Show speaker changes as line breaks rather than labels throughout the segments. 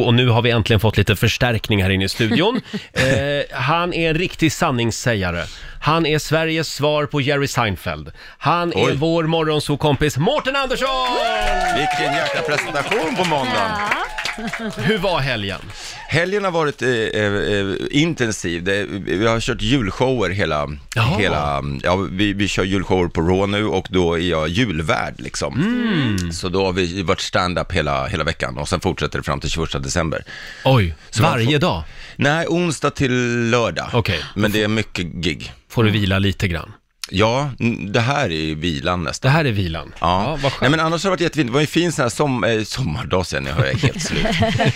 Och nu har vi äntligen fått lite förstärkning här inne i studion. eh, han är en riktig sanningssägare. Han är Sveriges svar på Jerry Seinfeld. Han är
Oj.
vår morgonsokompis Mårten Andersson!
Vilken jäkla presentation på måndagen!
Hur var helgen?
Helgen har varit eh, eh, eh, intensiv. Det, vi har kört julshower hela...
Jaha.
hela ja, vi, vi kör julshower på Raw nu och då är jag julvärd liksom.
Mm.
Så då har vi varit stand-up hela, hela veckan och sen fortsätter det fram till 21 december.
Oj,
man
varje
får-
dag
Nej, onsdag till lördag.
Okej.
Men det är mycket gig.
får du vila lite grann.
Ja, n- det här är ju vilan nästan.
Det här är vilan.
Ja,
vad skönt.
Nej, men annars har det varit jättefint. Det var en fin sån här som, eh, sommardag sen, jag är helt slut.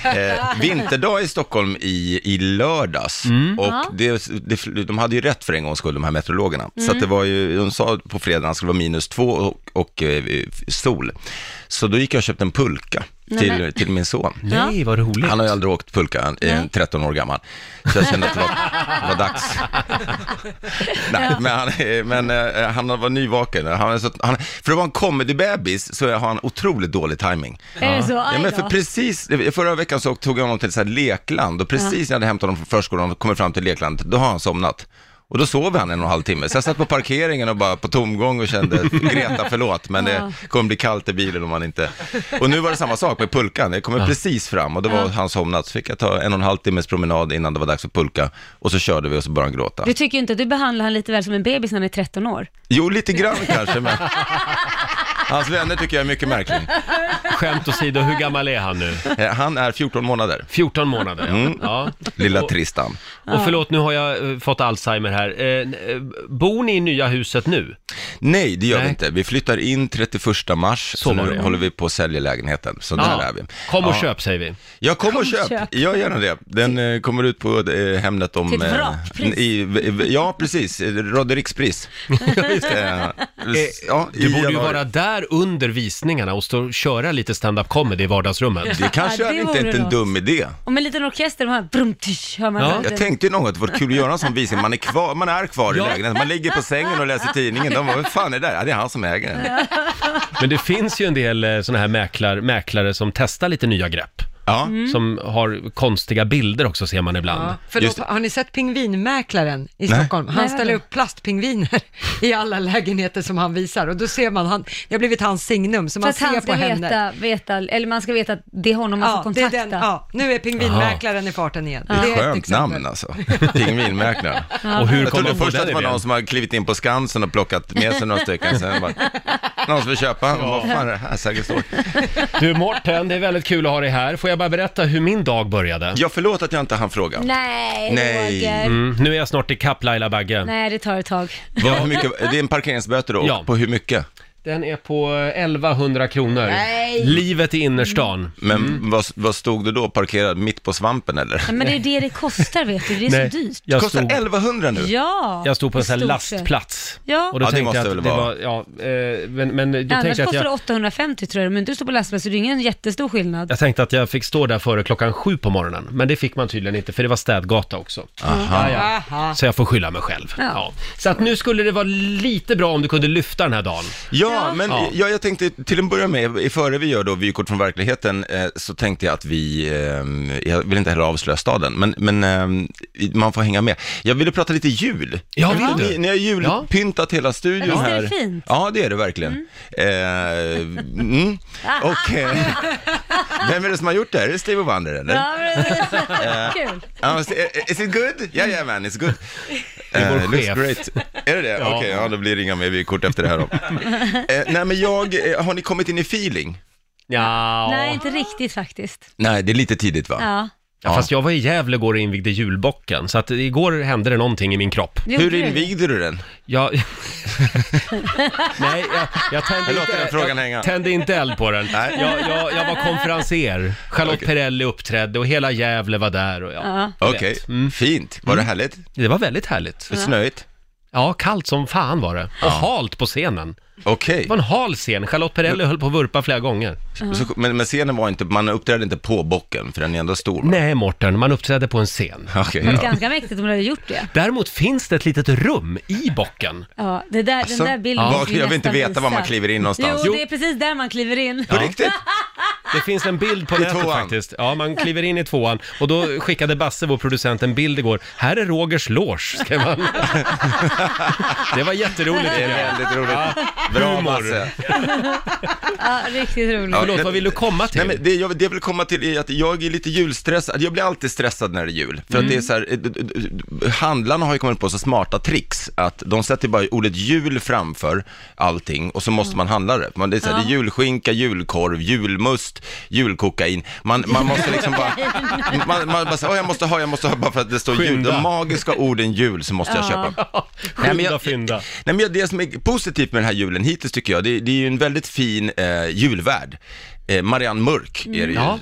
eh, vinterdag i Stockholm i, i lördags.
Mm.
Och det, det, de hade ju rätt för en gångs skull, de här meteorologerna. Så
Mm.
att det var ju, de sa på fredagen att det skulle vara minus två och, och eh, sol. Så då gick jag och köpte en pulka till, till min son.
Nej, vad roligt.
Han har ju aldrig åkt pulka, han är
Nej.
13 år gammal. Så jag kände att det var, var dags. Nej, men han, är- men eh, han var nyvaken. Han, är så, han, för att vara en comedybebis så har han otroligt dålig timing.
Är det så?
Ja,
Aj
men
då.
för precis, förra veckan så tog jag honom till så här lekland och precis när jag hade hämtat honom från förskolan och kommit fram till lekland, då har han somnat. Och då sov han en och en halv timme. Så jag satt på parkeringen och bara på tomgång och kände, Greta förlåt, men det kommer bli kallt i bilen om man inte... Och nu var det samma sak med pulkan, jag kommer precis fram och då var han somnat. Så fick jag ta en och en halv timmes promenad innan det var dags för pulka och så körde vi och så började han gråta.
Du tycker ju inte att du behandlar han lite väl som en bebis när han är 13 år.
Jo, lite grann kanske, men... Hans vänner tycker jag är mycket märklig.
Skämt åsido, hur gammal är han nu?
Eh, Han är 14 månader,
14 månader, ja.
Mm.
ja.
lilla
Och-
Tristan.
Och förlåt, nu har jag eh, fått Alzheimer här. Eh, n- eh, bor ni i nya huset nu?
Nej, det gör
Nej.
vi inte. Vi flyttar in 31 mars, så,
Så var
nu
det.
håller vi på att sälja lägenheten. Så där är vi.
Kom och
ja.
köp, säger vi.
Ja, kom, och köp.
köp.
Gör gärna det. Den eh, kommer ut på eh, Hemnet om...
Till ett
eh,
vrakpris.
i, i, ja, precis. Eh, Roderikspris. Eh, s- ja, i
Du borde ju
januari.
vara där under visningarna och stå och köra lite stand-up comedy i vardagsrummet.
Det kanske
Ja, det
är inte,
vore
inte en
något.
dum idé.
Och med en liten orkester, man hör, brum, tysch, hör man
Ja.
ja,
Jag tänkte ju någon gång att det vore kul att göra en sån visning. Man är kvar, man är kvar
Ja.
i lägenheten, man ligger på sängen och läser tidningen. De bara, vad fan är det där? Ja, det är han som äger den.
Men det finns ju en del sådana här mäklar, mäklare som testar lite nya grepp.
Ja.
Mm.
Som har konstiga bilder också ser man ibland.
Ja, för då,
Just det.
har ni sett pingvinmäklaren i
Nej.
Stockholm? Han
Nej,
ställer
vadå?
upp plastpingviner i alla lägenheter som han visar och då ser man, han, det har blivit hans signum, så
För
man
att
ser
han
på
ska
henne.
veta, veta, eller man ska veta att det är honom man får
det är
kontakta.
den, ja, nu är pingvinmäklaren i farten igen. Det är ett
Skönt
exempel.
namn alltså. Pingvinmäklaren.
Och hur kom
Jag trodde
man på
först att
den
det var någon
idén?
som hade klivit in på Skansen och plockat med sig några stycken, sen bara, någon som vill köpa, vad fan är det här, Sergels torg?
Du Mårten, det är väldigt kul att ha dig här. Får jag bara berätta hur min dag började?
Ja, förlåt att jag inte hann fråga.
Nej,
Nej.
Roger.
Mm, nu är jag snart ikapp Laila Bagge.
Nej, det tar ett tag.
Vad, hur mycket, det är en parkeringsböter då,
Ja.
på hur mycket?
Den är på eh, 1100 kronor.
Nej.
Livet i innerstan.
Men
Mm.
vad, vad stod du då, parkerad mitt på svampen eller?
Men det är ju det det kostar vet du, det är så dyrt.
jag
Kostar
stod,
1100 nu?
Ja,
jag stod på en sån här
i stort sett.
lastplats.
Ja.
Och då
Ja, det
tänkte
måste
jag
väl
att det
vara-
var, ja, eh, men, men då
Annars
tänkte jag att
kostar det
jag,
850 tror jag, men du står på lastbil så det är ingen jättestor skillnad.
jag tänkte att jag fick stå där före klockan sju på morgonen. Men det fick man tydligen inte, för det var städgata också. Ja,
Aha.
ja.
Aha.
Så jag får skylla mig själv. Ja.
Ja.
Så att nu skulle det vara lite bra om du kunde lyfta den här dagen.
Ja, men
Ja.
Ja, jag tänkte till en början med, i- före vi gör då vykort från verkligheten, eh, så tänkte jag att vi, eh, jag vill inte heller avslöja staden, men, men eh, man får hänga med. Jag ville prata lite jul.
Ja, vill
ni,
du?
ni har
Ja.
julpyntat hela studion
Ja, visst är
här.
det fint?
Ja, det är det verkligen. Eh, mm. Och eh, vem är det som har gjort det? Är det Steve Wonder eller?
Ja, men kul.
Ja, is- Is it good? Ja, ja man, it's good. Det
är vår chef.
looks great. Är det det? Okej, ja, då blir det inga mer vykort efter det här då. Eh, nej, men jag, eh, har ni kommit in i feeling?
Ja.
Nej, inte riktigt faktiskt.
Nej, det är lite tidigt va?
Ja.
Ja, fast jag var i Gävle igår och invigde julbocken, så att igår hände det någonting i min kropp.
Det
Hur
gjorde du.
invigde du den?
Jag... Nej, jag, jag tände
Jag låter
inte-
den frågan
jag
hänga.
Tände inte eld på den.
Nej.
Jag, jag, jag var konferenser. Charlotte Perrelli uppträdde och hela Gävle var där och Mm. ja.
Ja.
jag
Okej,
vet.
fint. Var det
Mm.
härligt?
Det var väldigt härligt.
Snöigt?
Ja, kallt som fan var det. Och halt på scenen.
Okej.
Det var en hal scen. Charlotte Perrelli höll på att vurpa flera gånger.
Så, men, men scenen var inte, man uppträdde inte på bocken, för den är ändå stor. va?
Nej, Morten, man uppträdde på en scen.
Okej, ja.
Ganska mäktigt om du hade gjort det.
Däremot finns det ett litet rum i bocken.
Ja, det där,
Alltså,
den där bilden
ja.
måste vi
Jag vill inte
nästan
veta var man
visa.
kliver in någonstans.
Jo,
Jo.
det är precis där man kliver in.
På riktigt?
Det finns en bild på nätet
tvåan.
faktiskt. Ja, man kliver in i tvåan och då skickade Basse, vår producent, en bild igår. Här är Rogers loge, skrev han. Det var jätteroligt.
Det är
tycker jag.
väldigt roligt.
Humor.
Bra, Basse.
Ja, riktigt roligt.
Ja.
Förlåt, vad vill du komma till?
Nej, men det, jag, det jag vill komma till är att jag är lite julstressad. Jag blir alltid stressad när det är jul. För att det är så här, eh, d- d- d- handlarna har ju kommit på så smarta tricks att de sätter bara ordet jul framför allting och så måste man handla det. Man, det, är så här, det är julskinka, julkorv, julmust, julkokain. Man, man måste liksom bara, man, man bara säger, "Åh, jag måste ha, jag måste ha, bara för att det står jul.
Skynda.
De magiska orden jul så måste jag köpa.
Skynda,
men jag-
fynda.
Nej, men det som är positivt med den här julen hittills tycker jag, det, det är ju en väldigt fin eh, julvärd. Eh, Marianne Mörk är det ju.
Ja.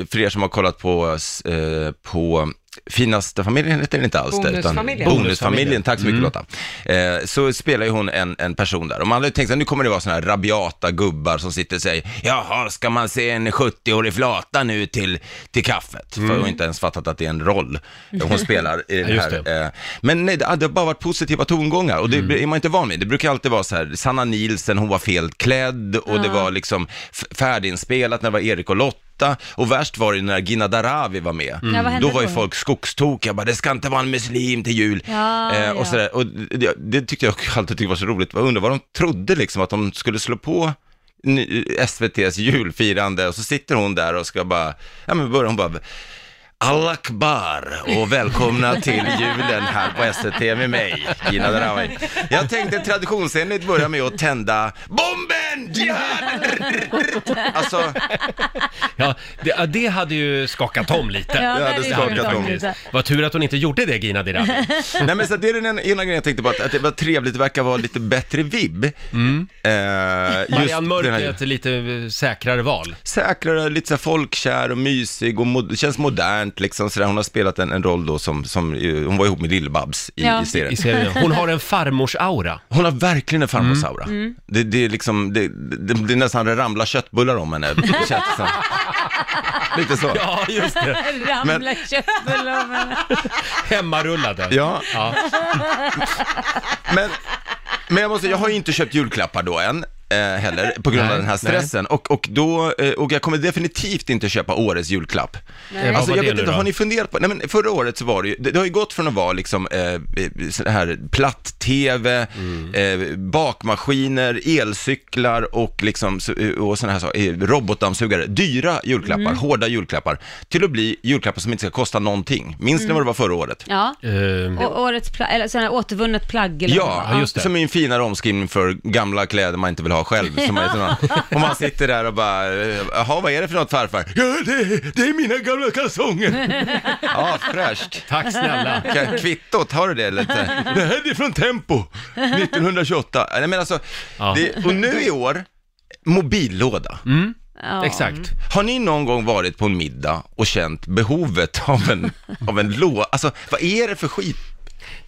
Eh, för er som har kollat på, eh, på Finaste familjen heter den inte alls. där, utan-
Bonusfamiljen.
Bonusfamiljen, tack så mycket Lotta. Eh, så spelar ju hon en, en person där. Och man hade tänkt sig nu kommer det vara sådana här rabiata gubbar som sitter och säger, jaha, ska man se en 70-årig flata nu till, till kaffet? För hon har inte ens fattat att det är en roll hon spelar i den
Ja, just
här
det.
Eh, Men nej, det hade bara varit positiva tongångar och det är man inte van vid. Det brukar alltid vara så här, Sanna Nielsen, hon var felklädd och det var liksom f- färdiginspelat när det var Erik och Lotta. Och värst var det ju när Gina Darawi var med.
Ja, vad hände
då var ju
då?
folk skogstokiga, bara det ska inte vara en muslim till jul.
Ja,
eh,
ja.
och sådär. och det, det tyckte jag alltid tyckte var så roligt. Jag undrar vad de trodde liksom, att de skulle slå på ny- SVT's julfirande och så sitter hon där och ska bara, ja men börjar hon bara, Al-Akbar och välkomna till julen här på SVT med mig, Gina Darawi. Jag tänkte traditionsenligt börja med att tända bomben! Jihad! Alltså,
Ja, det, ja, det hade ju skakat om lite.
Ja, det
hade skakat om
faktiskt.
lite.
Vad tur att hon inte gjorde det, Gina Dirawi.
nej men så det är den ena grejen jag tänkte på, att, att det var trevligt, det verkar vara lite bättre vibb. Eh, just
Mm. Marianne Mörk
den
är
här-
ett lite eh, säkrare val.
säkrare, lite så här folkkär och mysig och mod- känns modernt liksom sådär. Hon har spelat en, en roll då som, som eh, hon var ihop med Lill-Babs i,
Ja.
i serien.
I serien. Hon har en farmors-aura.
Hon har verkligen
Mm.
en farmorsaura. Det, det är liksom, det, det, det är nästan det ramlar köttbullar om henne, det känns det som. Lite så.
Ja, just det.
Ramla köttbullar om henne.
Hemmarullade.
Ja,
Ja.
men, men jag måste, jag har ju inte köpt julklappar då än. Eh, heller, på grund
Nej,
av den här stressen. Och, och, då, eh, och jag kommer definitivt inte köpa årets julklapp.
Eh, Vad
Alltså
var
jag
det
vet
nu
inte,
då?
har ni funderat på, nej men förra året så var det ju, det, det har ju gått från att vara liksom eh, eh, sån här platt-tv,
Mm.
eh, bakmaskiner, elcyklar och liksom så- eh, och såna här saker, eh, robotdammsugare, dyra julklappar,
Mm.
hårda julklappar, till att bli julklappar som inte ska kosta någonting. Minns
Mm.
ni vad det var förra året?
Ja,
Ehm,
och årets pla- eller sån här återvunnet plagg eller
Ja,
vad det var.
just det.
som är en finare omskrivning för gamla kläder man inte vill ha själv. Som man, och man sitter där och bara, eh, jaha vad är det för något farfar? Ja, det, det är mina gamla kalsonger. ja, fräscht.
tack snälla.
K- Kvittot, har du det eller? Det här är från Tempo, 1928. Nej men alltså,
Ja.
det, och nu i år, mobillåda.
Ja.
Exakt.
Har ni någon gång varit på en middag och känt behovet av en, av en låda? Alltså, vad är det för skit?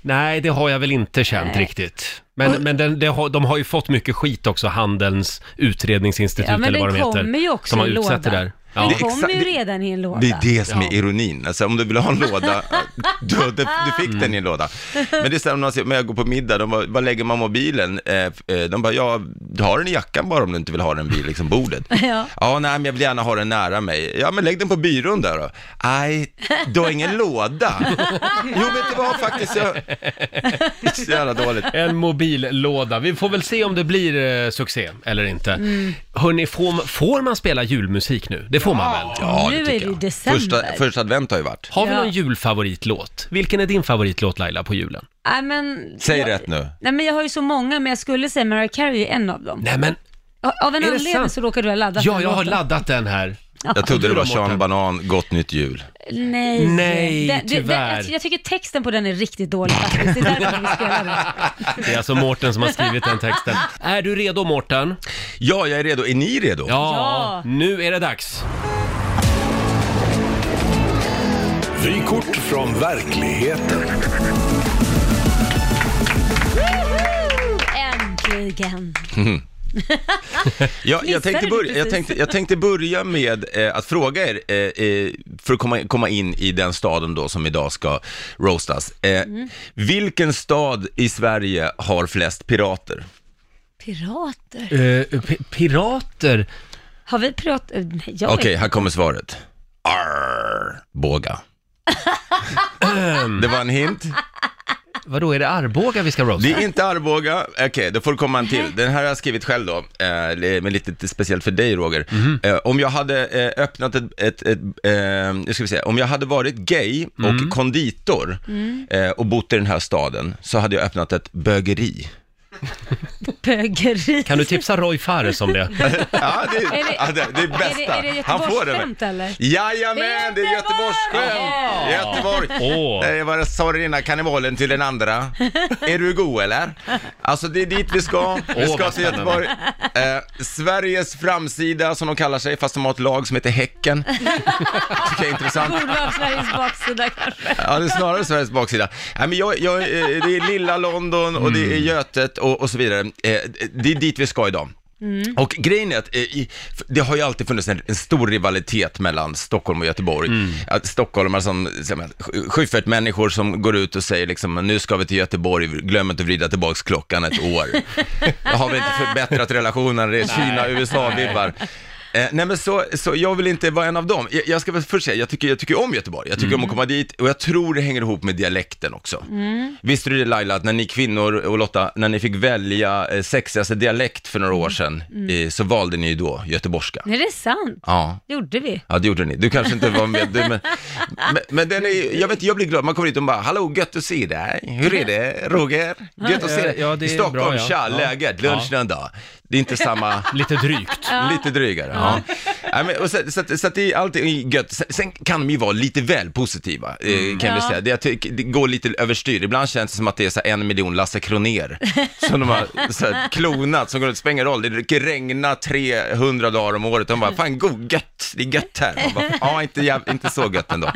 Nej, det har jag väl inte känt riktigt. Men, men den, det har, de har ju fått mycket skit också, Handelns utredningsinstitut
Ja, men
eller vad de
den
heter.
kommer ju också
som har
i en
utsett det
låda.
där.
Den
Ja.
Det är
kommer
exakt-
ju redan i en låda.
Det är det som
Ja.
är ironin. Alltså, om du vill ha en låda, du, du, du fick den i en låda. Men det är så här, om någon säger, men jag går på middag, de bara, var lägger man mobilen? Eh, eh, De bara, ja, du har den i jackan bara om du inte vill ha den vid liksom, bordet.
Ja.
Ja, nej, men jag vill gärna ha den nära mig. Ja, men lägg den på byrån där då. Nej, du har ingen låda. Jo, vet du vad, faktiskt, jag... Det är så jävla dåligt.
En mobillåda. Vi får väl se om det blir eh, succé eller inte.
Mm.
Hörrni, får, ma- får man spela julmusik nu? Det får man väl?
Ja,
Nu är
tycker
det ju
jag.
december.
Första, första advent har ju varit.
Har vi
Ja.
någon julfavoritlåt? Vilken är din favoritlåt Laila på julen?
Nej, men,
Säg
jag,
rätt nu.
Nej, men jag har ju så många, men jag skulle säga Mariah Carey är en av dem.
Nej men,
Av en
Är det
anledning
sant?
så råkar du ha laddat
ja
den
jag har
låten.
laddat den här.
Jag trodde det var Sean
Morten.
Banan, Gott Nytt Jul.
Nej,
Nej,
Den- du- den-
tyvärr.
jag, jag tycker texten på den är riktigt dålig faktiskt. Det är därför vi spelar den.
Det är alltså Mårten som har skrivit den texten. Är du redo Mårten?
Ja, jag är redo. Är ni redo?
Ja,
Ja.
nu är det dags.
Vykort från verkligheten.
Äntligen.
Ja, jag,
Fnissade
tänkte
du
börja, jag,
precis?
tänkte, jag tänkte börja med eh, att fråga er, eh, eh, för att komma, komma in i den staden då som idag ska roastas. Eh,
Mm.
Vilken stad i Sverige har flest pirater?
Pirater?
Eh, pi- pirater?
Har vi pirater? Nej, jag
Okej,
vet.
här kommer svaret. Arboga. Det var en hint.
Vadå, är det Arboga vi ska roasta?
Det är inte Arboga. Okej, då får det komma en till. Den här har jag skrivit själv då, eh, men lite speciellt för dig Roger.
Mhm.
Eh, om jag hade eh, öppnat ett, ett, ett eh, nu ska vi se, om jag hade varit gay och
Mhm.
konditor
Mm.
eh, och bott i den här staden så hade jag öppnat ett bögeri.
Bögeri.
Kan du tipsa Roy Fares om det?
ja, det,
Är det-
ja, det, det är bästa.
är det Göteborgsskämt, eller?
Jajamän, det är Göteborgsskämt! Göteborg!
Åh.
Nej, Eh, Jag bara sa det innan karnevalen till den andra. Är du god eller? Alltså det är dit vi ska. Vi
Åh,
ska
vad
till Göteborg. Eh, Sveriges framsida som de kallar sig, fast de har ett lag som heter Häcken. Tycker jag är intressant.
Borde vara Sveriges baksida kanske.
Ja, det är snarare Sveriges baksida. Nej, men jag, jag, eh, det är lilla London och det är Götet och, och så vidare. Eh, Det är dit vi ska idag. Och grejen är att eh, i- f- det har ju alltid funnits en, en stor rivalitet mellan Stockholm och Göteborg. Att Stockholmare som, som människor som går ut och säger liksom, nu ska vi till Göteborg, glöm inte att vrida tillbaks klockan ett år. Då har vi inte förbättrat relationen, det är Kina, USA-vibbar. Eh, nej men så, så jag vill inte vara en av dem. Jag, jag ska väl först säga, jag tycker, jag tycker om Göteborg, jag tycker om att komma dit och jag tror det hänger ihop med dialekten också. Visste du det Laila, att när ni kvinnor och Lotta, när ni fick välja eh, sexigaste dialekt för några år sedan, eh, så valde ni ju då göteborgska.
Nej, det är sant.
Ja.
Gjorde vi?
Ja, det gjorde ni. Du kanske inte var med. Du, men, men, men den är, jag vet inte, jag blir glad. Man kommer dit och bara, hallå, gött att se dig. Hur är det, Roger? Gött att se dig.
Ja, det är
I Stockholm,
bra, ja.
tja,
Ja.
läget, lunchen en dag. Det är inte samma...
Lite drygt.
Lite drygare. Ja. Nej, men, och så, så, att- så att det är alltid gött. Sen- Sen kan de ju vara lite väl positiva, eh, kan vi
Ja.
säga. Det, jag tycker- det går lite överstyr. Ibland känns det som att det är så här en miljon Lasse Kroner som de har så här, klonat, som går ut, spelar ingen roll. Det regnar 300 dagar om året. De bara, fan god, gött, det är gött här. Man Bara, ja, inte, jäv, inte så gött ändå.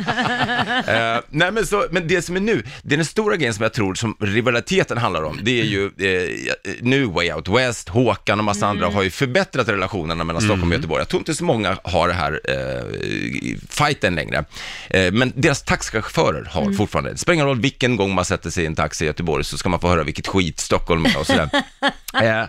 Eh, nej, men, så, men det som är nu, det är den stora grejen som jag tror som rivaliteten handlar om, det är ju eh, nu Way Out West, Håkan och massa andra har ju förbättrat relationerna mellan Stockholm och Göteborg. Jag tror inte så många har det här eh, fighten längre. Eh, men deras taxichaufförer har fortfarande, det spelar ingen roll vilken gång man sätter sig i en taxi i Göteborg så ska man få höra vilket skit Stockholm är och sådär. Eh,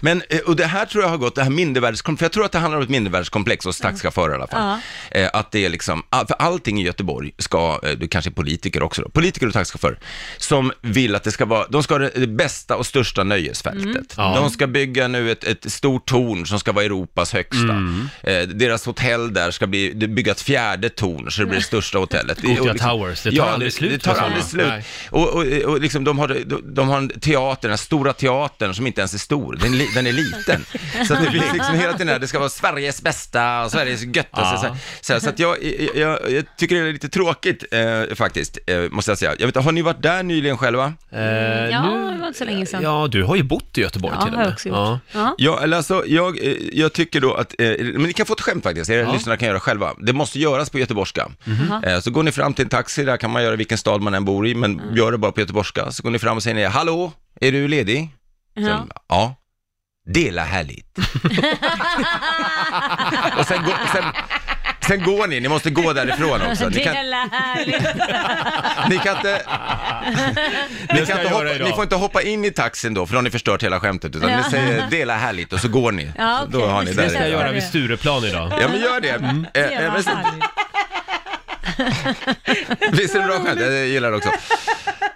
Men, eh, och det här tror jag har gått, det här mindervärdeskomplex, för jag tror att det handlar om ett mindervärdeskomplex hos taxichaufförer i alla fall. Eh, Att det är liksom, all- för allting i Göteborg ska, eh, det kanske är politiker också då, politiker och taxichaufförer, som vill att det ska vara, de ska ha det det bästa och största nöjesfältet.
Mm. Ja.
De ska bygga nu ett, ett stort torn som ska vara Europas högsta.
Mm.
Eh, Deras hotell där ska bli, det- bygga ett fjärde torn så det blir det största hotellet.
Gothia
Och liksom-
Towers, det tar aldrig slut
Det tar
med
aldrig
sådana.
slut.
Nej.
Och, och, och liksom de, har, de, de har en teater, den här stora teatern som inte ens är stor, den, är li- den är liten. Så att det finns liksom hela tiden här, det ska vara Sveriges bästa och Sveriges göttaste.
Ja.
Så, så, så att jag, jag, jag, jag tycker det är lite tråkigt eh, faktiskt, eh, måste jag säga. Jag vet, inte, har ni varit där nyligen själva?
Eh,
Ja, det var inte så länge sedan.
Ja, du har ju bott i Göteborg
Ja,
till och
har
med.
jag också gjort. Ja.
Ja, eller alltså, jag, eh, jag tycker då att, eh, men ni kan få ett skämt faktiskt, era lyssnare kan göra själva. Det måste göras på göteborgska.
Mm.
Eh, så går ni fram till en taxi, där kan man göra vilken stad man än bor i, men gör det bara på göteborgska. Så går ni fram och säger, hallå, är du ledig?
Ja.
Sen, ja. Dela härligt. och sen, går- sen, sen går ni, ni måste gå därifrån också. Ni, kan,
Dela härligt.
ni kan inte,
Det ska
ni, kan
jag
inte
göra
hoppa,
idag.
ni får inte hoppa in i taxin då, för då har ni förstört hela skämtet. Utan
Ja.
ni säger dela härligt och så går ni.
Ja,
Så Då
okej.
har ni
Det
Det ska jag
därifrån.
göra vid Stureplan idag.
Ja men gör det. Mm. Eh, eh, men, sen- visst är det bra skämt? Jag gillar det också.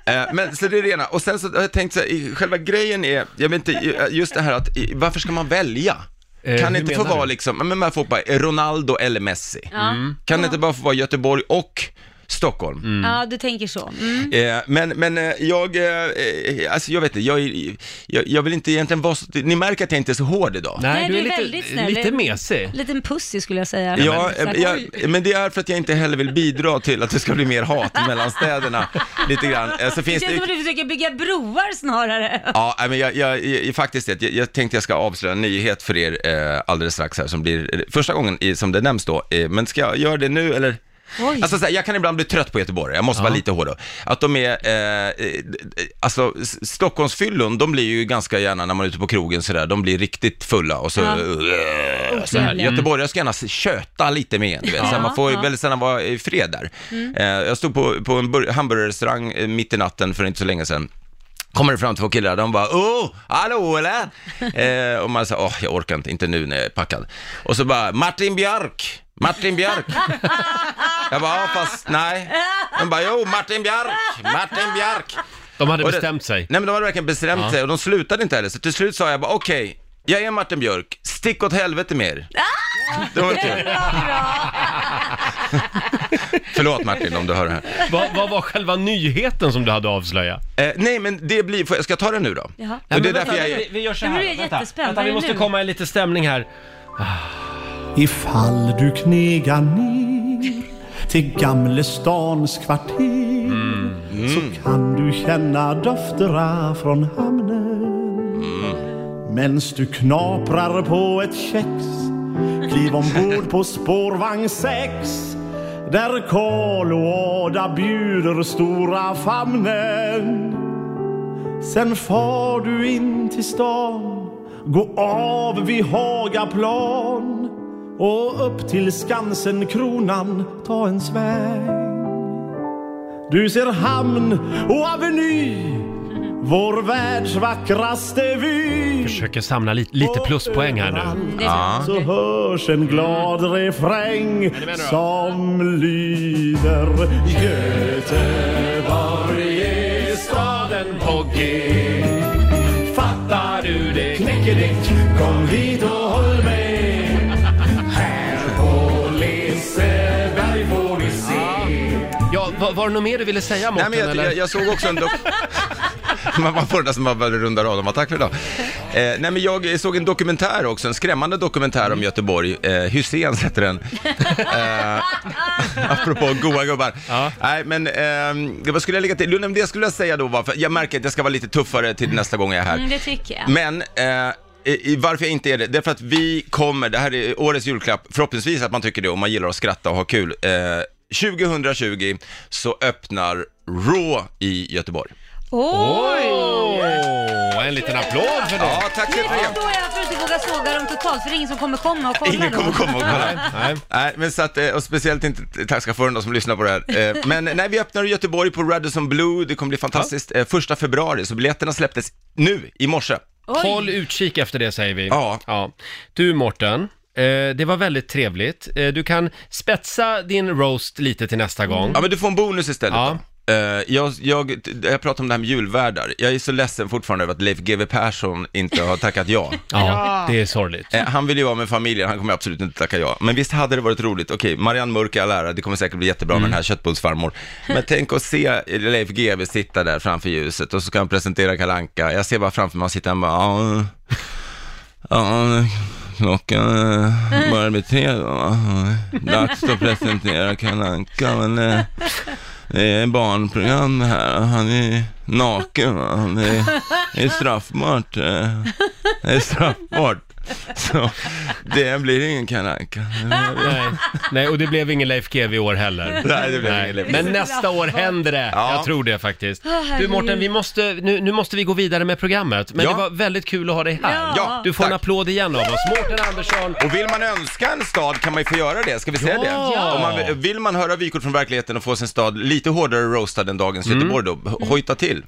Eh, Men så det är det ena. Och sen så har jag tänkt så här, i- själva grejen är, jag vet inte, i- just det här att i- varför ska man välja?
Eh,
Kan
hur
det inte få
menar
vara
du? Mm.
liksom, men man får bara Ronaldo eller Messi. Kan det inte bara få vara Göteborg och Stockholm?
Ja, du tänker så. Mm.
Eh, men men eh, jag, eh, eh, alltså jag vet inte, jag, är- jag, jag vill inte egentligen vara så, ni märker att jag inte är så hård idag.
Nej,
Nej,
du
du
är
är
lite,
väldigt snäll.
lite mesig.
Liten pussy skulle jag säga.
Ja,
Exakt.
eh, jag, men det är för att jag inte heller vill bidra till att det ska bli mer hat mellan städerna. Lite grann. Eh, Så
Det
finns
känns som
det,
att du försöker bygga broar snarare.
ja, nej, men jag, jag, jag, faktiskt, det. jag, jag tänkte jag ska avslöja en nyhet för er eh, alldeles strax här som blir eh, första gången i, som det nämns då. Eh, men ska jag göra det nu eller?
Oj.
Alltså, så här, jag kan ibland bli trött på Göteborg, jag måste vara lite hård då. Att de är, eh, eh, alltså S- Stockholmsfyllon, de blir ju ganska gärna när man är ute på krogen sådär, de blir riktigt fulla och så,
Ja.
eh, så här.
Mm.
Göteborg, jag ska gärna köta lite mer, du vet. Så här, man får
Ja. Mm.
väldigt sällan vara i fred där. Eh, jag stod på, på en bur- hamburgerrestaurang eh, mitt i natten för inte så länge sedan kommer det fram två killar, de bara ”Åh, hallå eller?” eh, Och man säger ”Åh, jag orkar inte, inte nu när jag är packad”. Och så bara ”Martin Björk, Martin Björk”. jag bara ”Ja, fast nej”. De bara ”Jo, Martin Björk, Martin Björk”.
De hade
Och det-
bestämt sig.
Nej men de hade verkligen bestämt sig och de slutade inte heller. Så till slut sa jag bara ”Okej, jag är Martin Björk, stick åt helvete med er”.
Ah!
det var kul. Förlåt Martin om du hör det här.
Vad, vad var själva nyheten som du hade att avslöja?
Eh, nej men det blir, får jag- ska jag ta det nu då?
Jaha.
Och det är därför jag är...
vi, vi gör så
Ja,
här.
men det är jättespänt.
vänta, vi
Vad är
måste
nu?
komma i lite stämning här.
Ifall du knegar ner till Gamle stans kvarter så kan du känna dofterna från hamnen. Mens du knaprar på ett kex kliv ombord på spårvagn 6 där Kolåda bjuder stora famnen. Sen far du in till stan Gå av vid Hagaplan Och upp till Skansen Kronan Ta en sväng Du ser hamn och aveny Vår världs vackraste vy
Försöker samla li, lite pluspoäng här nu.
Överallt
Det är så-
Så hörs en glad refräng Som lyder Göteborg är staden på G Fattar du det knäckedick? Kom hit och håll med Här på Liseberg får vi se
Ja, var, var det något mer du ville säga
Nej,
Mårten?
men jag,
eller?
jag, jag såg också en dok... Man man får det som man bara rundar av dem. Ja, Tack för idag. Eh, nej, men jag såg en dokumentär också, en skrämmande dokumentär om Göteborg. Eh, Hyséns heter den. eh, apropå goa gubbar. Nej, men ehm, det var- skulle jag lägga till. Jo, nej, men Det skulle jag säga då var, för jag märker att jag ska vara lite tuffare till nästa gång jag är här.
Mm, det tycker jag.
Men eh, i, i- varför jag inte är det, det är för att vi kommer, det här är årets julklapp, förhoppningsvis att man tycker det och man gillar att skratta och ha kul. Eh, 2020 så öppnar Raw i Göteborg.
Åh, en liten applåd för det.
Ja, tack så
Nu
mycket.
förstår jag varför du inte vågar såga dem totalt, för det är ingen som kommer komma och kolla
Ingen
då.
kommer komma och kolla.
Nej.
Nej, men så att, eh, och speciellt inte taxichauffören då som lyssnar på det här. Eh, Men nej, vi öppnar i Göteborg på Radisson Blue, det kommer bli fantastiskt. Eh, Första februari, så biljetterna släpptes nu, i morse.
Oj.
Håll utkik efter det säger vi.
Ja.
Du Mårten, eh, det var väldigt trevligt. Eh, du kan spetsa din roast lite till nästa gång.
Ja, men du får en bonus istället
Ja.
då. Eh, jag, jag, jag pratar om det här med julvärdar. Jag är så ledsen fortfarande över att Leif GW Persson inte har tackat ja.
Ja, det är sorgligt.
Eh, han vill ju vara med familjen, han kommer absolut inte tacka ja. Men visst hade det varit roligt. Okej, Marianne Mörk är all ära, det kommer säkert bli jättebra med den här köttbullsfarmor. Men tänk att se Leif GW sitta där framför ljuset och så ska han presentera Kalanka. Jag ser bara framför mig, han sitter där och bara, ja, ja, klockan eh, börjar bli tre då. Dags att presentera Kalanka, men eh, det är barnprogram det här. Han är naken, va? Han är, det är straffbart. eh. Det är straffbart. Så det blir ingen kalanka.
Nej. Nej, och det blev ingen Leif GW i år heller.
Nej, det blir ingen Leif
Men nästa år händer det.
Ja.
Jag tror det faktiskt. Du
herregud.
Mårten, vi måste, nu, nu måste vi gå vidare med programmet. Men
Ja.
det var väldigt kul att ha dig här.
Ja,
du får en
tack.
applåd igen av oss. Mårten Andersson.
Och vill man önska en stad kan man ju få göra det, ska vi säga det?
Ja.
Om
Mm.
man, vill man höra vykort från verkligheten och få sin stad lite hårdare roastad än dagens Göteborg då, hojta till.